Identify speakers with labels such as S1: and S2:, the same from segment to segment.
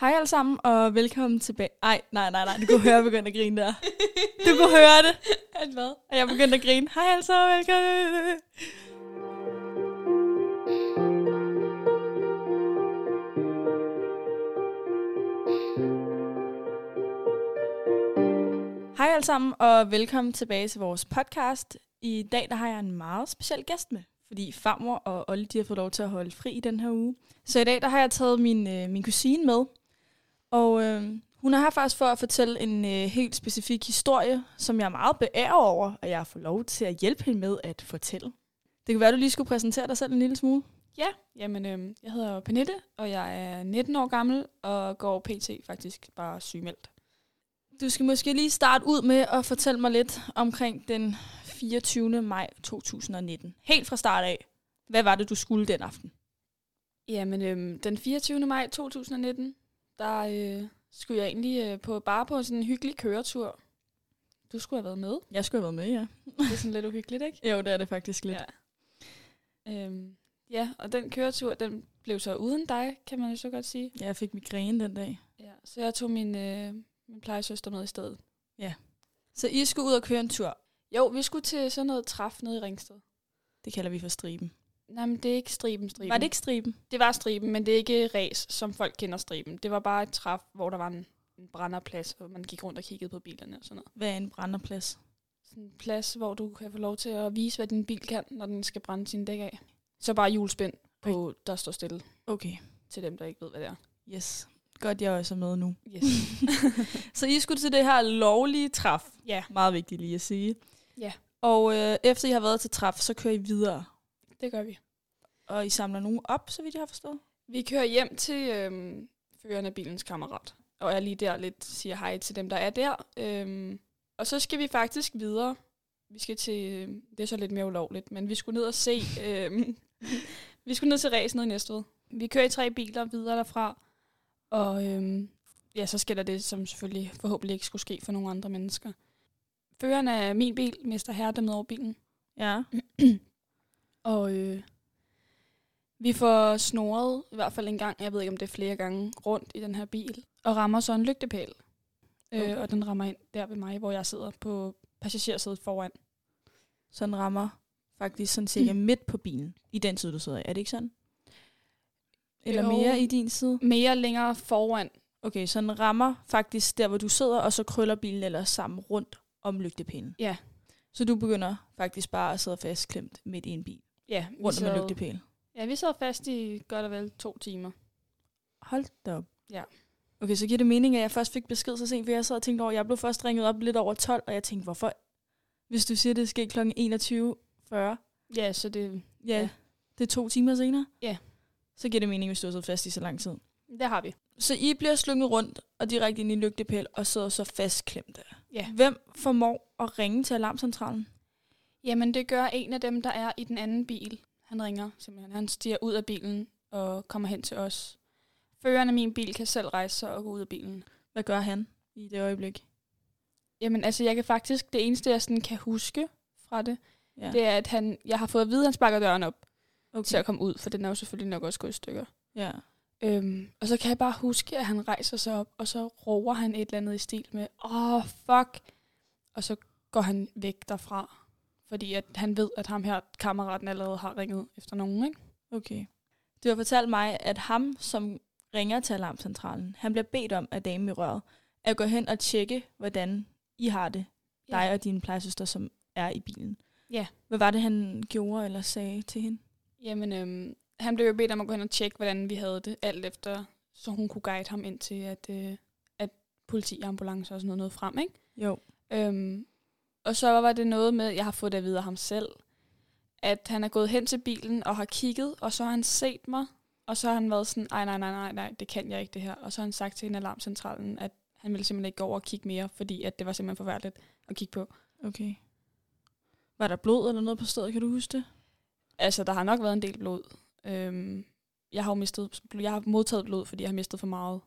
S1: Hej alle sammen, og velkommen tilbage. Ej, nej, nej, nej, du kunne høre, jeg begyndte at grine der. Du kunne høre det. At hvad? Og jeg begyndte at grine. Hej altså, velkommen. Hej alle sammen, og velkommen tilbage til vores podcast. I dag der har jeg en meget speciel gæst med, fordi farmor og Olle de har fået lov til at holde fri i den her uge. Så i dag der har jeg taget min, øh, min kusine med, og øh, hun er her faktisk for at fortælle en øh, helt specifik historie, som jeg er meget beæret over, og jeg får lov til at hjælpe hende med at fortælle. Det kan være, du lige skulle præsentere dig selv en lille smule.
S2: Ja, jamen, øhm, jeg hedder Pernille, og jeg er 19 år gammel, og går pt. faktisk bare sygemeldt.
S1: Du skal måske lige starte ud med at fortælle mig lidt omkring den 24. maj 2019. Helt fra start af. Hvad var det, du skulle den aften?
S2: Jamen, øhm, den 24. maj 2019, der øh, skulle jeg egentlig øh, på, bare på sådan en hyggelig køretur. Du skulle have været med.
S1: Jeg skulle have været med, ja.
S2: Det er sådan lidt uhyggeligt, ikke?
S1: Jo, det er det faktisk lidt. Ja.
S2: Øhm, ja, og den køretur, den blev så uden dig, kan man jo så godt sige.
S1: Jeg fik migræne den dag.
S2: Ja. Så jeg tog min, øh, min plejesøster med i stedet.
S1: Så I skulle ud og køre en tur.
S2: Jo, vi skulle til sådan noget træf nede i Ringsted.
S1: Det kalder vi for striben.
S2: Nej, men det er ikke striben, striben.
S1: Var det ikke striben?
S2: Det var striben, men det er ikke ræs, som folk kender striben. Det var bare et træf, hvor der var en, en brænderplads, og man gik rundt og kiggede på bilerne og sådan noget.
S1: Hvad er en brænderplads?
S2: Sådan en plads, hvor du kan få lov til at vise, hvad din bil kan, når den skal brænde sine dæk af. Så bare hjulspind på, der står stille
S1: Okay.
S2: til dem, der ikke ved, hvad det er.
S1: Yes. Godt, jeg også er med nu.
S2: Yes.
S1: Så I skulle til det her lovlige træf.
S2: ja,
S1: Meget vigtigt lige at sige.
S2: Ja.
S1: Og øh, efter I har været til træf, så kører I videre.
S2: det gør vi.
S1: Og I samler nogen op, så vidt jeg har forstået.
S2: Vi kører hjem til øhm, føreren af bilens kammerat, og jeg lige der lidt siger hej til dem, der er der. Øhm, og så skal vi faktisk videre. Vi skal til, øhm, det er så lidt mere ulovligt, men vi skulle ned og se, øhm, vi skulle ned til ræs nede i Næstved. Vi kører i tre biler videre derfra, og øhm, ja, så sker der det, som selvfølgelig forhåbentlig ikke skulle ske for nogle andre mennesker. Føreren af min bil mister herredømmet over bilen,
S1: Ja.
S2: og øh, vi får snoret, i hvert fald en gang, jeg ved ikke om det er flere gange, rundt i den her bil, og rammer så en lygtepæl. Okay.
S1: Okay.
S2: Øh, og den rammer ind der ved mig, hvor jeg sidder på passagersædet foran.
S1: Så den rammer faktisk sådan cirka mm. midt på bilen. I den side, du sidder i. Er det ikke sådan? Eller
S2: Jo.
S1: jo. mere i din side?
S2: Mere længere foran.
S1: Okay, så den rammer faktisk der, hvor du sidder, og så krøller bilen ellers sammen rundt om lygtepælen.
S2: Ja.
S1: Så du begynder faktisk bare at sidde fastklemt midt i en bil,
S2: Ja, vi
S1: rundt om en
S2: sad-
S1: lygtepæl.
S2: Ja, vi sad fast i godt og vel to timer.
S1: Hold da op.
S2: Ja.
S1: Okay, så giver det mening, at jeg først fik besked så sent, for jeg sad og tænkte over, jeg blev først ringet op lidt over 12, og jeg tænkte, hvorfor? Hvis du siger, det sker kl. 21.40,
S2: Ja, så det,
S1: ja,
S2: Ja.
S1: ja, det er to timer senere,
S2: Ja.
S1: så giver det mening, hvis du har siddet fast i så lang tid.
S2: det har vi.
S1: Så I bliver slynget rundt og direkte ind i en lygtepæl og sidder så fastklemte.
S2: Ja.
S1: Hvem formår at ringe til alarmcentralen?
S2: Jamen, det gør en af dem, der er i den anden bil. Han ringer simpelthen. Han stiger ud af bilen og kommer hen til os. Føreren af min bil kan selv rejse sig og gå ud af bilen.
S1: Hvad gør han i det øjeblik?
S2: Jamen, altså, jeg kan faktisk... Det eneste, jeg sådan kan huske fra det,
S1: Ja.
S2: det er, at han, jeg har fået at vide, at han sparker døren op til
S1: Okay.
S2: at komme ud, for den er jo selvfølgelig nok også gået i stykker.
S1: Ja.
S2: Øhm, og så kan jeg bare huske, at han rejser sig op, og så roer han et eller andet i stil med, åh, oh, fuck. Og så går han væk derfra, fordi at han ved, at ham her kammeraten allerede har ringet efter nogen, ikke?
S1: Okay. Du har fortalt mig, at ham, som ringer til alarmcentralen, han bliver bedt om af damen i røret, at gå hen og tjekke, hvordan I har det.
S2: Ja.
S1: Dig og din plejesøster, som er i bilen.
S2: Ja.
S1: Hvad var det, han gjorde eller sagde til hende?
S2: Jamen, øhm, han blev jo bedt om at gå hen og tjekke, hvordan vi havde det, alt efter, så hun kunne guide ham ind til, at, øh, at politi og ambulance og sådan noget nåede frem, ikke?
S1: Jo.
S2: Øhm, og så var det noget med, jeg har fået det at vide af ham selv, at han er gået hen til bilen og har kigget, og så har han set mig, og så har han været sådan, nej, nej, nej, nej, nej, det kan jeg ikke det her. Og så har han sagt til en alarmcentralen, at han ville simpelthen ikke gå over og kigge mere, fordi at det var simpelthen forfærdeligt at kigge på.
S1: Okay. Var der blod eller noget på stedet, kan du huske det?
S2: Altså, der har nok været en del blod. Øhm, jeg har jo mistet, jeg har modtaget blod, fordi jeg har mistet for meget.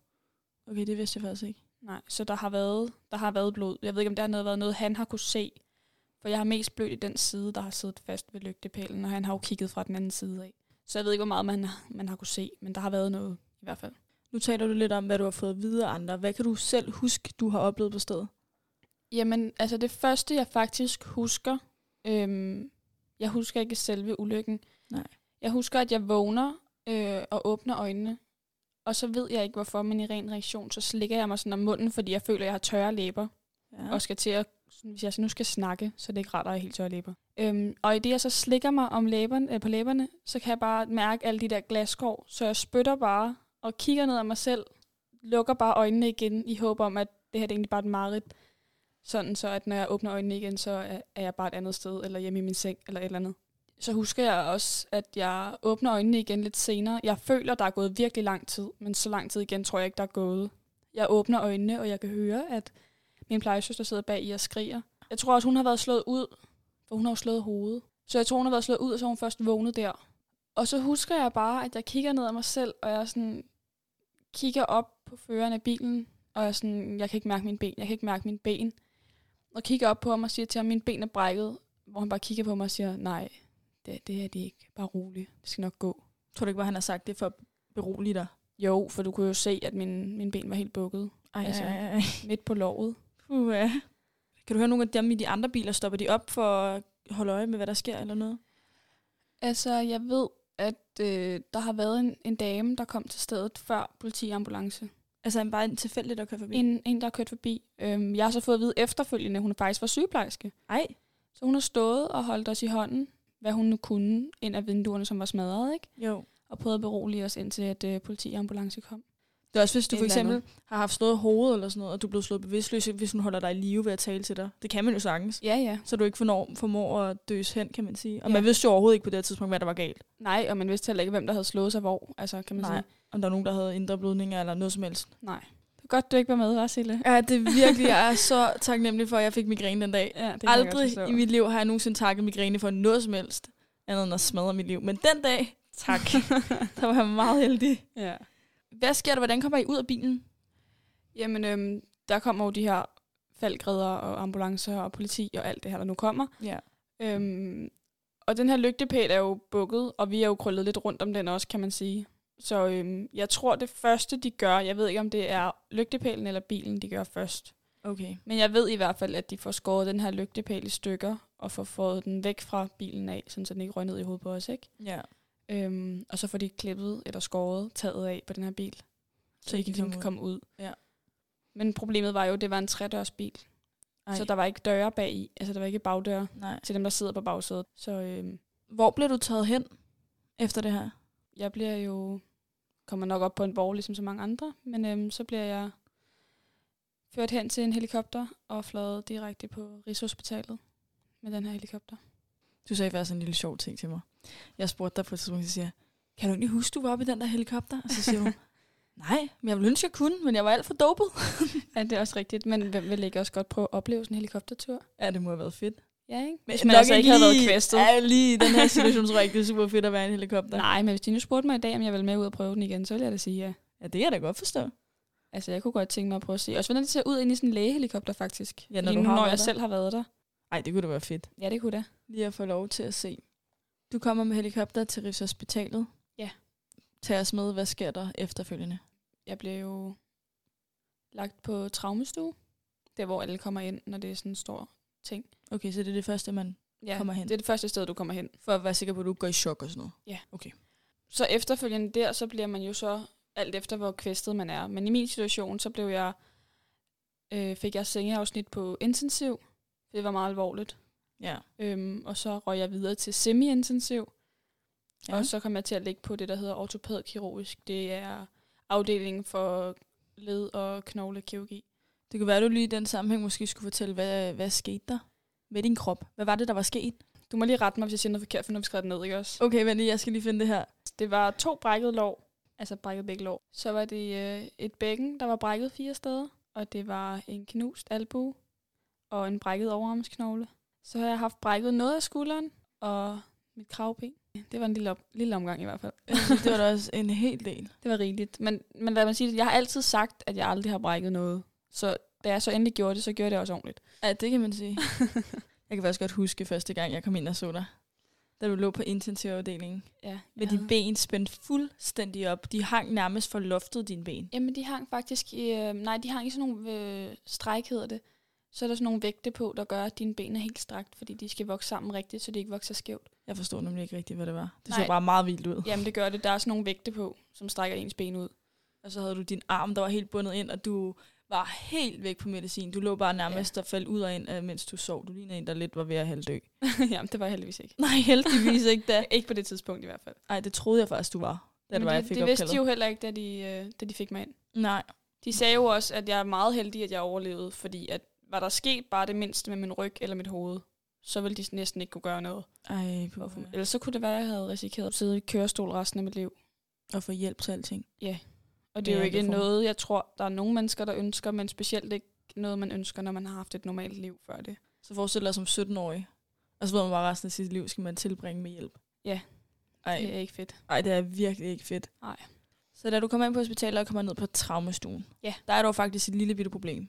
S1: Okay, det vidste jeg faktisk ikke.
S2: Nej, så der har været, der har været blod. Jeg ved ikke, om der har noget- været noget, han har kunne se. For jeg har mest blødt i den side, der har siddet fast ved lygtepælen, og han har jo kigget fra den anden side af. Så jeg ved ikke, hvor meget man, man har kunne se, men der har været noget i hvert fald.
S1: Nu taler du lidt om, hvad du har fået videre andre. Hvad kan du selv huske, du har oplevet på stedet?
S2: Jamen, altså det første, jeg faktisk husker, øhm, jeg husker ikke selve ulykken.
S1: Nej.
S2: Jeg husker, at jeg vågner øh, og åbner øjnene, og så ved jeg ikke hvorfor, men i ren reaktion, så slikker jeg mig sådan om munden, fordi jeg føler, at jeg har tørre læber,
S1: Ja.
S2: ja. og skal til at, sådan, hvis jeg nu skal snakke, så er det ikke rart at have helt tørre læber. Øhm, og i det, jeg så slikker mig om læberne, øh, på læberne, så kan jeg bare mærke alle de der glaskår, så jeg spytter bare og kigger ned af mig selv, lukker bare øjnene igen i håb om, at det her det er egentlig bare et mareridt. Sådan så, at når jeg åbner øjnene igen, så er- er jeg bare et andet sted, eller hjemme i min seng, eller et eller andet. Så husker jeg også, at jeg åbner øjnene igen lidt senere. Jeg føler, der er gået virkelig lang tid, men så lang tid igen tror jeg ikke, der er gået. Jeg åbner øjnene, og jeg kan høre, at min plejesøster sidder bag i og skriger. Jeg tror også, hun har været slået ud, for hun har jo slået hovedet. Så jeg tror, hun har været slået ud, og så har hun først vågnet der. Og så husker jeg bare, at jeg kigger ned ad mig selv, og jeg sådan kigger op på føreren af bilen, og jeg, sådan, jeg kan ikke mærke mine ben, jeg kan ikke mærke mine ben. Og kigger op på ham og siger til ham, mine ben er brækket, hvor han bare kigger på mig og siger, nej, det, det er det ikke, bare rolig, det skal nok gå.
S1: Tror du ikke bare, han har sagt det for at berolige dig?
S2: Jo, for du kunne jo se, at min, mine ben var helt bukket,
S1: Ej,
S2: Altså.
S1: ej, ej.
S2: midt på låret.
S1: Puh, ja. Kan du høre nogle af dem i de andre biler? Stopper de op for at holde øje med, hvad der sker eller noget?
S2: Altså, jeg ved, at øh, der har været en, en dame, der kom til stedet før politiambulance.
S1: Altså han bare en tilfældigt at køre forbi?
S2: En, en, der har kørt forbi. Øhm, jeg har så fået at vide efterfølgende, at hun faktisk var sygeplejerske.
S1: Ej,
S2: Så hun har stået og holdt os i hånden, hvad hun nu kunne, ind ad vinduerne, som var smadret, ikke?
S1: jo.
S2: Og prøvede at berolige os, indtil at øh, politiambulance kom.
S1: Det er også, hvis du
S2: Et
S1: for
S2: eller
S1: eksempel har haft slået hovedet eller sådan noget, og du er blevet slået bevidstløs, hvis hun holder dig i live ved at tale til dig. Det kan man jo sagtens.
S2: Ja, ja.
S1: Så du ikke fornår, formår at døs hen, kan man sige. Og
S2: Ja.
S1: man vidste jo overhovedet ikke på det her tidspunkt, hvad der var galt.
S2: Nej, og man vidste heller ikke, hvem der havde slået sig hvor, altså, kan man
S1: Nej.
S2: sige.
S1: Om der var nogen, der havde indre blødninger eller noget som helst.
S2: Nej. Det er godt, du ikke var med, var Sille?
S1: Ja, det er virkelig, jeg er så taknemmelig for, at jeg fik migræne den dag.
S2: Ja, det
S1: Aldrig i mit liv har jeg nogensinde takket migræne for noget som helst, andet end at smadre mit liv. Men den dag, tak. der var jeg meget heldig.
S2: Ja.
S1: Hvad sker der? Hvordan kommer I ud af bilen?
S2: Jamen, øhm, der kommer jo de her faldgræder og ambulancer og politi og alt det her, der nu kommer.
S1: Ja.
S2: Øhm, og den her lygtepæl er jo bukket, og vi er jo krøllet lidt rundt om den også, kan man sige. Så øhm, jeg tror, det første, de gør, jeg ved ikke, om det er lygtepælen eller bilen, de gør først.
S1: Okay.
S2: Men jeg ved i hvert fald, at de får skåret den her lygtepæl i stykker, og får fået den væk fra bilen af, sådan så den ikke røg ned i hovedet på os, ikke?
S1: Ja.
S2: Øhm, og så får de klippet eller skåret taget af på den her bil, så, så I kan,
S1: ligesom
S2: kan komme ud.
S1: Ja.
S2: Men problemet var jo, at det var en tredørsbil,
S1: Ej.
S2: så der var ikke døre bag i, altså der var ikke bagdøre
S1: Nej.
S2: til dem, der sidder på bagsædet. Så øhm,
S1: Hvor blev du taget hen efter det her?
S2: jeg bliver jo, kommer nok op på en borg, ligesom så mange andre, men øhm, så bliver jeg ført hen til en helikopter og fløjet direkte på Rigshospitalet med den her helikopter.
S1: Du sagde faktisk en lille sjov ting til mig. Jeg spurgte dig på et tidspunkt, og så siger jeg, kan du egentlig huske, du var oppe i den der helikopter? Og så siger hun, nej, men jeg ville ønske, jeg kunne, men jeg var alt for dopet.
S2: Ja, det er også rigtigt, men hvem vil ikke også godt prøve at opleve sådan en helikoptertur?
S1: Ja, det må have været fedt.
S2: Ja, ikke?
S1: Men
S2: Hvis man altså ikke havde været kvæstet.
S1: Ja, lige i den her situation, tror jeg ikke, det er super fedt at være i en helikopter.
S2: Nej, men hvis de nu spurgte mig i dag, om jeg ville med ud og prøve den igen, så ville jeg da sige ja.
S1: Ja, det kan jeg da godt forstå.
S2: Altså, jeg kunne godt tænke mig at prøve at se. Også hvordan det ser ud inde i sådan en lægehelikopter, faktisk.
S1: Ja, når
S2: Fordi
S1: du
S2: nu,
S1: har
S2: når
S1: været
S2: jeg
S1: der.
S2: selv har været der.
S1: Nej, det kunne da være fedt.
S2: Ja, det kunne da.
S1: Lige at få lov til at se. Du kommer med helikopter til Rigshospitalet.
S2: Ja.
S1: Tag os med, hvad sker der efterfølgende?
S2: jeg blev jo lagt på traumestue. Det er, hvor alle kommer ind, når det er sådan en stor ting.
S1: Okay, så det er det første, man
S2: Ja,
S1: Kommer hen.
S2: det er det første sted, du kommer hen.
S1: For at være sikker på, at du ikke går i chok og sådan noget.
S2: Så efterfølgende der, så bliver man jo så alt efter, hvor kvæstet man er. Men i min situation, så blev jeg, øh, fik jeg sengeafsnit på intensiv. Det var meget alvorligt.
S1: Ja.
S2: Øhm, og så røg jeg videre til semi-intensiv.
S1: Ja.
S2: Ja. Og så kom jeg til at ligge på det, der hedder ortopædkirurgisk. Det er afdelingen for led- og knoglekirurgi.
S1: Det kunne være, at du lige i den sammenhæng måske skulle fortælle, hvad, hvad skete der med din krop? Hvad var det, der var sket?
S2: Du må lige rette mig, hvis jeg siger noget forkert, for nu har vi skrevet det ned, ikke også?
S1: Okay, vent lige, jeg skal lige finde det her.
S2: Det var to brækkede lår, altså brækket begge lår. Så var det øh, et bækken, der var brækket fire steder, og det var en knust albue og en brækket overarmsknogle. Så har jeg haft brækket noget af skulderen og mit kravben. Det var en lille, op- lille omgang i hvert fald.
S1: Øh, Det var da også en hel del.
S2: Det var rigeligt. Men, men lad mig sige det, jeg har altid sagt, at jeg aldrig har brækket noget. Så da jeg så endelig gjorde det, så gjorde jeg det også ordentligt.
S1: Ja, det kan man sige. Jeg kan faktisk godt huske første gang, jeg kom ind og så dig. da du lå på intensivafdelingen.
S2: Ja,
S1: Med
S2: jeg
S1: dine ben spændt fuldstændig op. De hang nærmest for loftet, dine ben.
S2: Jamen, de hang faktisk i... Øh, nej, de hang i sådan nogle øh, stræk, hedder det. Så er der sådan nogle vægte på, der gør, at dine ben er helt strakt, fordi de skal vokse sammen rigtigt, så de ikke vokser skævt.
S1: Jeg forstod nemlig ikke rigtigt, hvad det var. Det så
S2: Nej.
S1: bare meget vildt ud.
S2: Jamen, det gør det. Der er sådan nogle vægte på, som strækker ens ben ud.
S1: Og så havde du din arm, der var helt bundet ind, og du var helt væk på medicin. Du lå bare nærmest og faldt ud og ind, øh, mens du sov. Du ligner en, der lidt var ved at halvdø.
S2: Jamen, det var jeg heldigvis ikke.
S1: Nej, heldigvis ikke da.
S2: Ikke på det tidspunkt i hvert fald.
S1: Nej, det troede jeg faktisk, du var, da det
S2: Men
S1: var,
S2: det,
S1: jeg fik
S2: det vidste
S1: opkaldet.
S2: de jo heller ikke, da de, øh, da de fik mig ind.
S1: Nej,
S2: De sagde jo også, at jeg er meget heldig, at jeg overlevede, fordi at var der sket bare det mindste med min ryg eller mit hoved, så ville de næsten ikke kunne gøre noget.
S1: Ej,
S2: For at
S1: puha.
S2: få- Ellers så kunne det være, at jeg havde risikeret at sidde i kørestol resten af mit liv.
S1: og få hjælp til alting.
S2: Og det er
S1: Ja,
S2: jo
S1: det
S2: ikke
S1: får man.
S2: noget, jeg tror, der er nogle mennesker, der ønsker, men specielt ikke noget, man ønsker, når man har haft et normalt liv før det.
S1: Så forestil dig som 17-årig, og så ved man bare resten af sit liv, skal man tilbringe med hjælp.
S2: Ja.
S1: Ej,
S2: Det er ikke fedt.
S1: Ej, det er virkelig ikke fedt.
S2: Nej.
S1: Så da du kommer ind på hospitalet og kommer ned på traumestuen,
S2: Ja.
S1: der er der jo faktisk et lille bitte problem.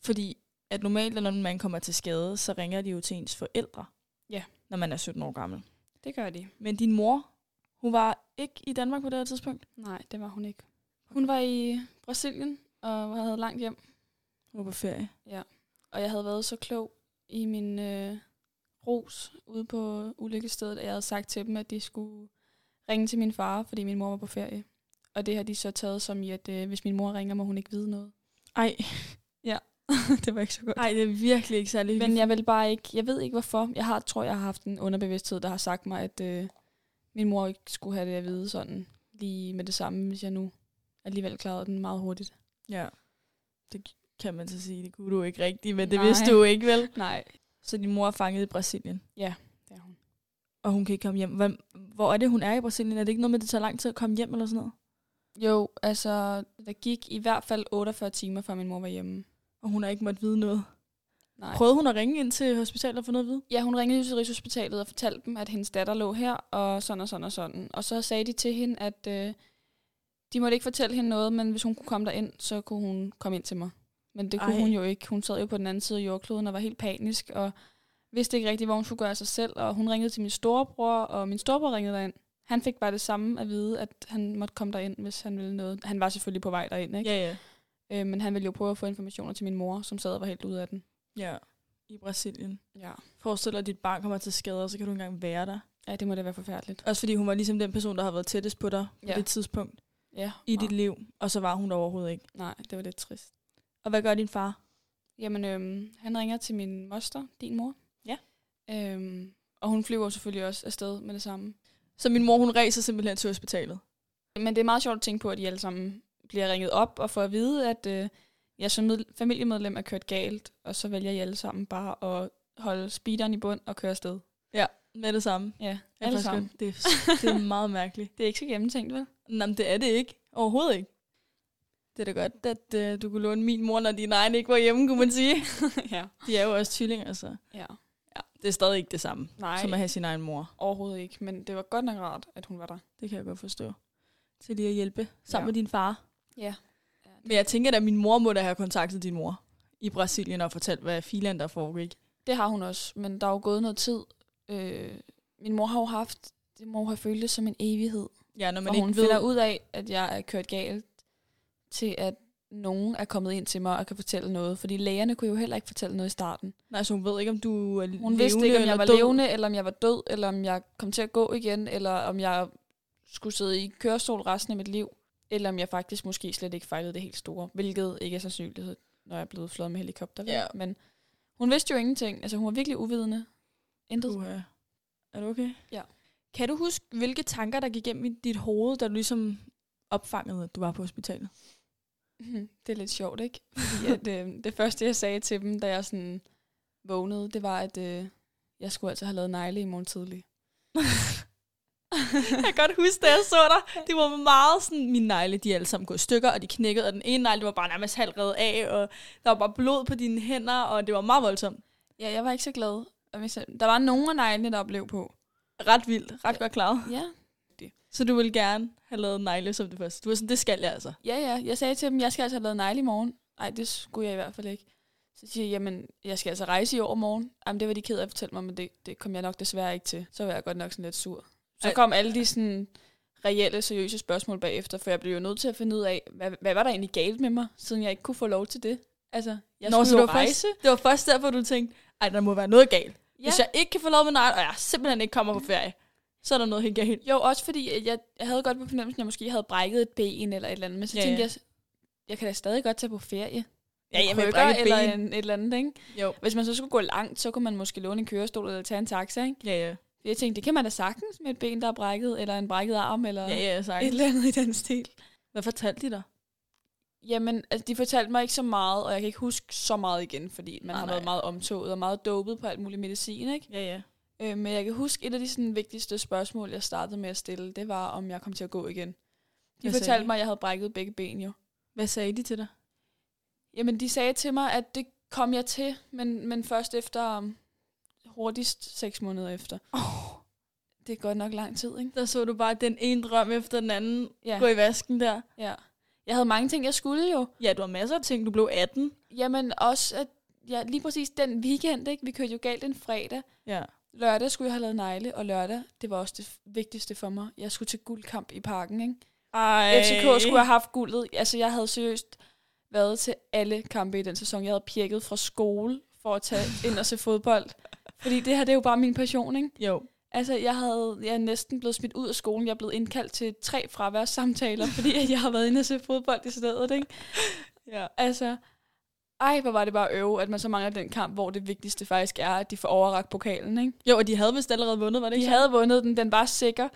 S1: Fordi at normalt, når man kommer til skade, så ringer de jo til ens forældre,
S2: Ja.
S1: når man er 17 år gammel.
S2: Det gør de.
S1: Men din mor, hun var ikke i Danmark på det her tidspunkt.
S2: Nej, det var hun ikke. Hun var i Brasilien og havde langt hjem,
S1: Hun var på ferie.
S2: og jeg havde været så klog i min øh, ros ude på ulykkestedet, at jeg havde sagt til dem, at de skulle ringe til min far, fordi min mor var på ferie. Og det har de så taget som i, at øh, hvis min mor ringer, må hun ikke vide noget.
S1: Ej,
S2: det var ikke så godt.
S1: ej, det er virkelig ikke særlig
S2: Men jeg vil bare ikke, jeg ved ikke hvorfor. Jeg har, tror, jeg har haft en underbevidsthed, der har sagt mig, at øh, min mor ikke skulle have det at vide sådan lige med det samme, hvis jeg nu alligevel klarede den meget hurtigt.
S1: Ja, det kan man så sige. Det kunne du ikke rigtigt, men det
S2: Nej.
S1: vidste du ikke, vel?
S2: Nej,
S1: Så din mor er fanget i Brasilien.
S2: det er hun.
S1: og hun kan ikke komme hjem. Hvor, hvor er det, hun er i Brasilien? Er det ikke noget med, at det tager lang tid at komme hjem eller sådan noget?
S2: Jo, altså, der gik i hvert fald 48 timer, før min mor var hjemme.
S1: Og hun har ikke måttet vide noget.
S2: Nej.
S1: Ej. Prøvede hun at ringe ind til hospitalet og få noget at vide?
S2: Ja, hun ringede jo til Rigshospitalet og fortalte dem, at hendes datter lå her, og sådan og sådan og sådan. Og så sagde de til hende, at øh, de måtte ikke fortælle hende noget, men hvis hun kunne komme derind, så kunne hun komme ind til mig. Men det kunne
S1: Ej.
S2: Ej. hun jo ikke. Hun sad jo på den anden side af jordkloden og var helt panisk, og vidste ikke rigtigt, hvor hun skulle gøre af sig selv. Og hun ringede til min storebror, og min storebror ringede derind. Han fik bare det samme at vide, at han måtte komme derind, hvis han ville noget. Han var selvfølgelig på vej derind, ikke?
S1: Ja, ja.
S2: Ja. Øh, men han ville jo prøve at få informationer til min mor, som sad og var helt ude af den.
S1: Ja, i Brasilien.
S2: Ja.
S1: Forestil dig, at dit barn kommer til skade, og så kan du ikke engang være der.
S2: Ja, det må da være forfærdeligt.
S1: Også fordi hun var ligesom den person, der har været tættest på dig på
S2: Ja.
S1: det tidspunkt
S2: Ja,
S1: i
S2: meget.
S1: dit liv, og så var hun der overhovedet ikke.
S2: Nej, det var lidt trist.
S1: Og hvad gør din far?
S2: Jamen, øhm, han ringer til min moster, din mor.
S1: Ja.
S2: Øhm, og hun flyver selvfølgelig også afsted med det samme.
S1: Så min mor, hun ræser simpelthen til hospitalet.
S2: Men det er meget sjovt at tænke på, at de alle sammen bliver ringet op og får at vide, at øh, jeg som med- familiemedlem er kørt galt, og så vælger I alle sammen bare at holde speederen i bund og køre afsted.
S1: Med det samme.
S2: Ja,
S1: Ja,
S2: alle
S1: faktisk
S2: sammen.
S1: godt. Det, er- det er meget mærkeligt.
S2: Det er ikke så gennemtænkt, vel?
S1: Nå, men det er det ikke. Overhovedet ikke. Det er da godt, at øh, du kunne låne min mor, når din egen ikke var hjemme, kunne man sige.
S2: ja.
S1: De er jo også tvillinger, så
S2: ja.
S1: det er stadig ikke det samme,
S2: Nej,
S1: som at have sin egen mor.
S2: overhovedet ikke. Men det var godt nok rart, at hun var der.
S1: Det kan jeg godt forstå. Til lige at hjælpe sammen
S2: Ja.
S1: med din far.
S2: Ja.
S1: Men jeg tænker da, at min mor må da have kontaktet din mor i Brasilien og fortalt, hvad filan der foregik.
S2: Det har hun også, men der er jo gået noget tid. Øh, min mor har jo haft, det må jo have følt det som en evighed.
S1: Ja, når man
S2: og
S1: ikke
S2: hun
S1: ved...
S2: finder ud af, at jeg er kørt galt, til at nogen er kommet ind til mig og kan fortælle noget. Fordi lægerne kunne jo heller ikke fortælle noget i starten.
S1: Nej, så hun ved ikke, om du er
S2: Hun
S1: levende
S2: vidste ikke, om
S1: eller
S2: jeg var
S1: død.
S2: levende, eller om jeg var død, eller om jeg kom til at gå igen, eller om jeg skulle sidde i kørestol resten af mit liv, eller om jeg faktisk måske slet ikke fejlede det helt store, hvilket ikke er sandsynlighed, når jeg er blevet flået med helikopter. vel?
S1: Ja.
S2: Men hun vidste jo ingenting. Altså, hun var virkelig uvidende. Intet.
S1: Uha. Er du okay?
S2: Ja.
S1: Kan du huske, hvilke tanker, der gik igennem i dit hoved, da du ligesom opfangede, at du var på hospitalet?
S2: Mhm, Det er lidt sjovt, ikke? Fordi at, øh, det første, jeg sagde til dem, da jeg sådan vågnede, det var, at øh, jeg skulle altså have lavet negle i morgen tidlig.
S1: Jeg kan godt huske, da jeg så dig. Det var meget sådan, mine negle, de er alle sammen gået i stykker, og de knækkede, og den ene negle, det var bare nærmest halvt reddet af, og der var bare blod på dine hænder, og det var meget voldsomt.
S2: ja, jeg var ikke så glad. Og hvis jeg- Der var nogen af neglene, der blev på.
S1: Ret vildt, ret godt klaret.
S2: Ja.
S1: Så du ville gerne have lavet negle som det første. Du var sådan, det skal jeg altså.
S2: ja, ja. Jeg sagde til dem, jeg skal altså have lavet negle i morgen. Nej, det skulle jeg i hvert fald ikke. Så siger jeg, jamen, jeg skal altså rejse i overmorgen. Jamen, det var de ked af at fortælle mig, men det, det kom jeg nok desværre ikke til. Så var jeg godt nok sådan lidt sur. Så
S1: Ej.
S2: kom alle de sådan reelle, seriøse spørgsmål bagefter, for jeg blev jo nødt til at finde ud af, hvad, hvad var der egentlig galt med mig, siden jeg ikke kunne få lov til det? Altså, jeg Nå,
S1: så
S2: skulle jo
S1: det var
S2: rejse.
S1: Først, det var først derfor, du tænkte, ej, der må være noget galt. Ja.
S2: Ja.
S1: Hvis jeg ikke kan få lov med nej, og jeg simpelthen ikke kommer på ferie, så er der noget helt galt.
S2: Jo, også fordi at jeg, jeg havde godt på fornemmelsen, at jeg måske havde brækket et ben eller et eller andet, men så
S1: Ja,
S2: ja, tænkte
S1: ja.
S2: jeg, jeg kan da stadig godt tage på ferie.
S1: Ja,
S2: En
S1: ja, men
S2: krykker
S1: brække et
S2: eller
S1: ben.
S2: en, et eller andet, ikke?
S1: Jo.
S2: Hvis man så skulle gå langt, så kunne man måske låne en kørestol eller tage en taxa, ikke?
S1: Ja, ja.
S2: Jeg tænkte, det kan man da sagtens med et ben, der er brækket, eller en brækket arm, eller
S1: Ja, ja, sagt.
S2: et eller andet i den stil.
S1: Hvad fortalte de dig?
S2: Jamen, altså, de fortalte mig ikke så meget, og jeg kan ikke huske så meget igen, fordi
S1: Nej,
S2: man ah, har
S1: nej.
S2: været meget omtoget og meget dopet på alt muligt medicin, ikke?
S1: Ja, ja.
S2: Øh, men jeg kan huske, et af de sådan, vigtigste spørgsmål, jeg startede med at stille, det var, om jeg kom til at gå igen. De
S1: Hvad sagde
S2: fortalte
S1: de?
S2: mig, at jeg havde brækket begge ben jo.
S1: Hvad sagde de til dig?
S2: Jamen, de sagde til mig, at det kom jeg til, men, men først efter um, hurtigst seks måneder efter.
S1: Oh,
S2: Det er godt nok lang tid, ikke?
S1: der så du bare den ene drøm efter den anden ja.
S2: Ja.
S1: gå i vasken der.
S2: Ja. Jeg havde mange ting, jeg skulle jo.
S1: Ja, du har masser af ting. Du blev 18.
S2: Jamen, også at ja, lige præcis den weekend, ikke? Vi kørte jo galt en fredag.
S1: Ja.
S2: Lørdag skulle jeg have lavet negle, og lørdag, det var også det f- vigtigste for mig. Jeg skulle til guldkamp i parken, ikke?
S1: Ej.
S2: FCK skulle have haft guldet. Altså, jeg havde seriøst været til alle kampe i den sæson. Jeg havde pirket fra skole for at tage ind og se fodbold. Fordi det her, det er jo bare min passion, ikke?
S1: Jo.
S2: Altså, jeg, havde, jeg er næsten blevet smidt ud af skolen. Jeg er blevet indkaldt til tre fraværssamtaler, fordi at jeg har været inde og se fodbold i stedet, ikke?
S1: Ja.
S2: Altså, ej, hvor var det bare øve, at man så mangler den kamp, hvor det vigtigste faktisk er, at de får overragt pokalen, ikke?
S1: Jo, og de havde vist allerede vundet, var det
S2: De
S1: ikke?
S2: havde vundet den, den var sikker,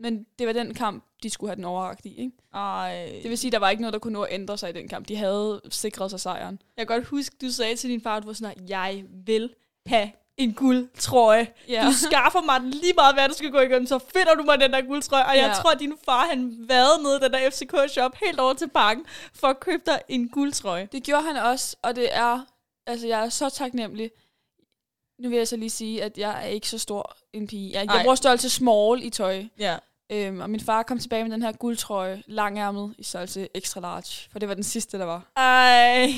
S2: men det var den kamp, de skulle have den overragt i, ikke?
S1: Ej.
S2: Det vil sige, der var ikke noget, der kunne nå at ændre sig i den kamp. De havde sikret sig sejren.
S1: Jeg kan godt huske, du sagde til din far, at du var sådan, at jeg vil have en guldtrøje. Ja. Du skaffer mig den lige meget, hvad du skal gå igennem, så finder du mig den der guldtrøje. Og ja. jeg
S2: Ja.
S1: tror, at din far, han vade ned i den der FCK-shop helt over til parken, for at købe dig en guldtrøje.
S2: Det gjorde han også, og det er... Altså, jeg er så taknemmelig. Nu vil jeg så lige sige, at jeg er ikke så stor en pige. Jeg, jeg
S1: Ej.
S2: bruger størrelse small i tøj.
S1: Ja.
S2: Øhm, og min far kom tilbage med den her guldtrøje, langærmet i størrelse extra large. For det var den sidste, der var.
S1: Ej,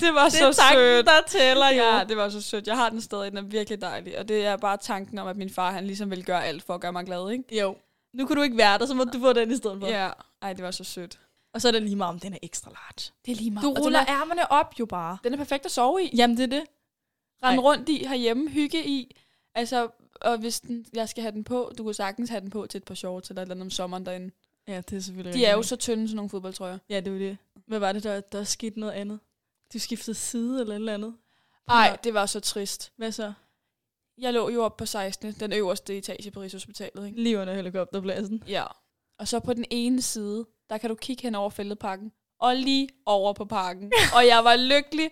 S2: det var
S1: det er tanken, der tæller jo.
S2: Ja, det var så sødt. Jeg har den stadig, den er virkelig dejlig. Og det er bare tanken om, at min far han ligesom vil gøre alt for at gøre mig glad, ikke?
S1: Jo. Nu kunne du ikke være der, så må du få den i stedet for.
S2: Ja, ej, det var så sødt.
S1: Og så er det lige meget, om den er ekstra large.
S2: Det er lige meget.
S1: Du ruller ærmerne op jo bare.
S2: Den er perfekt at sove i.
S1: Jamen, det er det.
S2: Rende
S1: Ej.
S2: rundt i herhjemme, hygge i. Altså, og hvis den, jeg skal have den på, du kan sagtens have den på til et par shorts eller et eller andet om sommeren derinde.
S1: Ja, det er selvfølgelig
S2: De
S1: rigtigt
S2: er jo
S1: nok.
S2: så tynde, sådan nogle fodboldtrøjer.
S1: Ja, det er jo det. Hvad var det, der, der skete noget andet? Du skiftede side eller et eller andet?
S2: Nej, det var så trist.
S1: Hvad så?
S2: Jeg lå jo op på 16. den øverste etage på Rigshospitalet, ikke?
S1: Lige under helikopterpladsen.
S2: Ja. Og så på den ene side, der kan du kigge hen over fældeparken. Og lige over på parken. og jeg var lykkelig.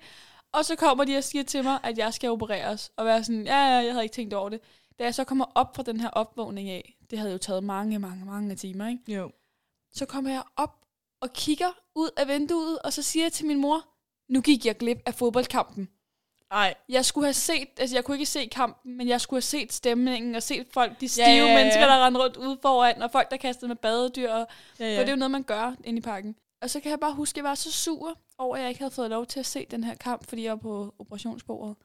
S2: Og så kommer de og siger til mig, at jeg skal opereres. Og være sådan, ja, ja, jeg havde ikke tænkt over det. Da jeg så kommer op fra den her opvågning af, det havde jo taget mange, mange, mange timer, ikke?
S1: Jo.
S2: Så kommer jeg op og kigger ud af vinduet, og så siger jeg til min mor, nu gik jeg glip af fodboldkampen.
S1: Ej.
S2: Jeg skulle have set, altså jeg kunne ikke se kampen, men jeg skulle have set stemningen og set folk, de stive
S1: ja,
S2: ja,
S1: ja.
S2: ja, mennesker, der rendte rundt ude foran, og folk, der kastede med badedyr, og
S1: Ja,
S2: ja.
S1: ja.
S2: For det er jo noget, man gør inde i parken. Og så kan jeg bare huske, at jeg var så sur over, at jeg ikke havde fået lov til at se den her kamp, fordi jeg var på operationsbordet.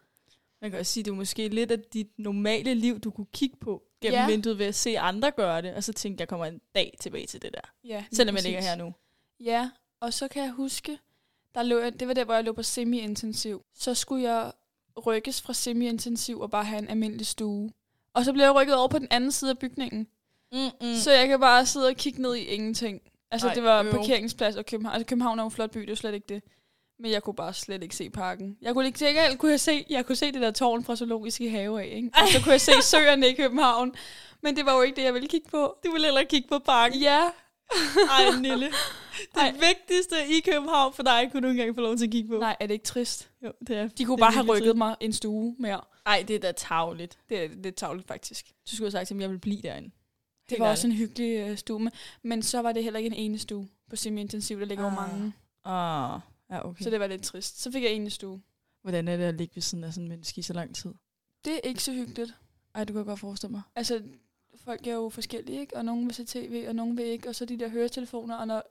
S1: Man kan også sige, det er jo måske lidt af dit normale liv, du kunne kigge på gennem ja.
S2: Ja.
S1: vinduet ved at se andre gøre det, og så tænke, jeg kommer en dag tilbage til det der.
S2: Ja, lige
S1: Selvom jeg
S2: præcis.
S1: ligger her nu.
S2: Ja, og så kan jeg huske, der lå, jeg- det var der, hvor jeg lå på semi-intensiv. Så skulle jeg rykkes fra semi-intensiv og bare have en almindelig stue. Og så blev jeg rykket over på den anden side af bygningen.
S1: Mm-mm.
S2: Mm. Så jeg kan bare sidde og kigge ned i ingenting. Altså,
S1: Ej,
S2: Ej, det var
S1: øv.
S2: parkeringsplads og København. Altså, København er jo en flot by, det er jo slet ikke det. Men jeg kunne bare slet ikke se parken. Jeg kunne ikke til gengæld kunne jeg se, jeg kunne se det der tårn fra Zoologiske Have af, ikke? Og så kunne jeg se søerne i København. Men det var jo ikke det, jeg ville kigge på.
S1: Du vil hellere kigge på parken.
S2: Ja,
S1: Ej, Nille. Det
S2: Ej.
S1: vigtigste i København for dig, kunne du ikke engang få lov til at kigge på.
S2: nej, er det ikke trist?
S1: Jo, det er,
S2: De kunne
S1: det er
S2: bare have
S1: virkelig
S2: rykket mig en stue mere.
S1: trist. Ej, det er da tavligt.
S2: Det er lidt tavligt, faktisk.
S1: Du skulle have sagt til mig, jeg vil blive derinde.
S2: Det var også en hyggelig øh, stue, men- men så var det heller ikke en ene stue på semi-intensiv, der ligger jo
S1: Ah,
S2: mange.
S1: Ah, ja, okay.
S2: Så det var lidt trist. Så fik jeg en sstue.
S1: Hvordan er det at ligge ved siden af sådan en menneske i så lang tid?
S2: Det er ikke så hyggeligt.
S1: Ej, du kan godt forestille mig.
S2: altså, folk er jo forskellige, ikke? Og nogen vil se tv, og nogen vil ikke. Og så de der høretelefoner, og når,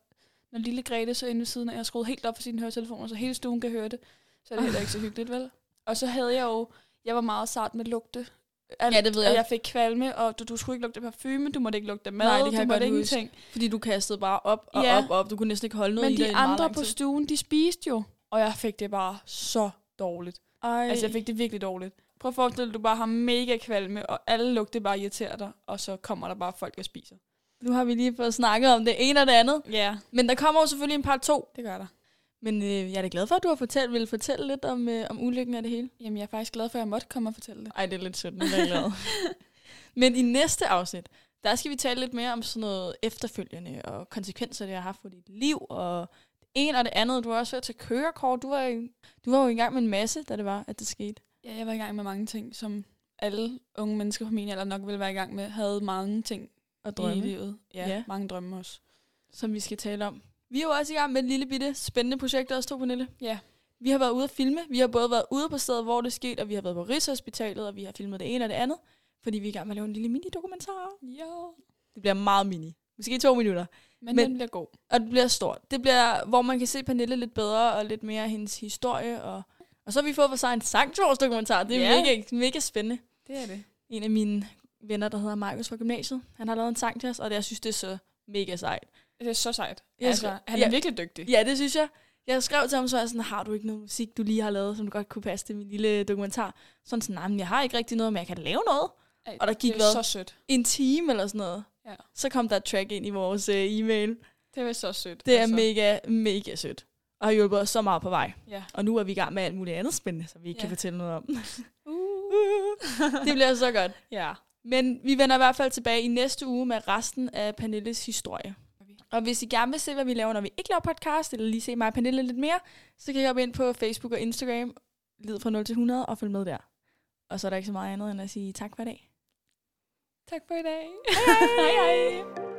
S2: når lille Grete så inde ved siden af, jeg har skruet helt op for sine høretelefoner, så hele stuen kan høre det, så er det heller ikke så
S1: Ah.
S2: hyggeligt, vel? Og så havde jeg jo, jeg var meget sart med lugte. Alt,
S1: Ja, det ved jeg.
S2: Og jeg fik kvalme, og du, du skulle ikke lugte parfume, du måtte ikke lugte mad,
S1: Nej, det kan
S2: du
S1: jeg
S2: måtte
S1: godt huske.
S2: ingenting.
S1: Fordi du kastede bare op og
S2: Ja.
S1: op og op. Du kunne næsten ikke holde noget
S2: Men
S1: i det
S2: de andre på stuen, de spiste jo, og jeg fik det bare så dårligt.
S1: Ej.
S2: Altså, jeg fik det virkelig dårligt. Prøv at forestille dig, du bare har mega kvalme, og alle lugte bare irriterer dig, og så kommer der bare folk og spiser.
S1: Nu har vi lige fået snakket om det ene og det andet.
S2: Ja,
S1: Men der kommer jo selvfølgelig en part 2.
S2: det gør der.
S1: Men øh, jeg er da glad for, at du har fortalt, vil fortælle lidt om, øh, om ulykken af det hele.
S2: Jamen, jeg er faktisk glad for, at jeg måtte komme og fortælle det.
S1: Ej, det er lidt sødt, men jeg er glad. men i næste afsnit, der skal vi tale lidt mere om sådan noget efterfølgende og konsekvenser, det har haft for dit liv og det ene og det andet. Du har også været til kørekort. Du var, jo- du var jo i gang med en masse, da det var, at det skete.
S2: Ja, jeg var i gang med mange ting, som alle unge mennesker på min alder nok ville være i gang med. Havde mange ting
S1: Og
S2: i livet.
S1: Ja.
S2: Ja, ja, mange drømme også.
S1: som vi skal tale om. Vi er jo også i gang med et lille bitte spændende projekt også, to Pernille.
S2: Ja.
S1: Vi har været ude at filme. Vi har både været ude på stedet, hvor det skete, og vi har været på Rigshospitalet, og vi har filmet det ene og det andet. Fordi vi er i gang med at lave en lille mini-dokumentar.
S2: Jo.
S1: Det bliver meget mini. Måske to minutter.
S2: Men,
S1: Men-
S2: Men den bliver god.
S1: Og det bliver stort. Det bliver, hvor man kan se Pernille lidt bedre, og lidt mere af hendes historie. Og, og så har vi fået vores egen Sanktjords-dokumentar. Det er
S2: Ja.
S1: mega, mega spændende.
S2: Det er det.
S1: En af mine venner, der hedder Markus fra gymnasiet, han har lavet en sang til os, og det, jeg synes, det er så mega sejt.
S2: Det er så sejt.
S1: Jeg
S2: altså,
S1: skal-
S2: han er
S1: ja.
S2: virkelig dygtig.
S1: Ja, det synes jeg. Jeg skrev til ham, så var jeg sådan, har du ikke noget musik, du lige har lavet, som du godt kunne passe til min lille dokumentar? Sådan sådan, nej, men jeg har ikke rigtig noget, men jeg kan da lave noget.
S2: Ej,
S1: Og der gik
S2: det er
S1: hvad?
S2: så sødt.
S1: En time eller sådan noget.
S2: Ja.
S1: Så kom der et track ind i vores øh, e-mail.
S2: Det er så sødt.
S1: Det er altså. mega, mega sødt. Og har hjulpet os så meget på vej.
S2: Ja.
S1: Og nu er vi i gang med alt muligt andet spændende, som vi ikke
S2: Ja.
S1: kan fortælle noget om.
S2: Uh.
S1: det bliver så godt.
S2: ja.
S1: Men vi vender i hvert fald tilbage i næste uge med resten af Pernilles historie. Og hvis I gerne vil se, hvad vi laver, når vi ikke laver podcast, eller lige se mig og Pernille lidt mere, så kan I hoppe ind på Facebook og Instagram, lid fra 0 til 100, og følg med der. Og så er der ikke så meget andet end at sige tak for i dag.
S2: Tak for i dag.
S1: hej hej!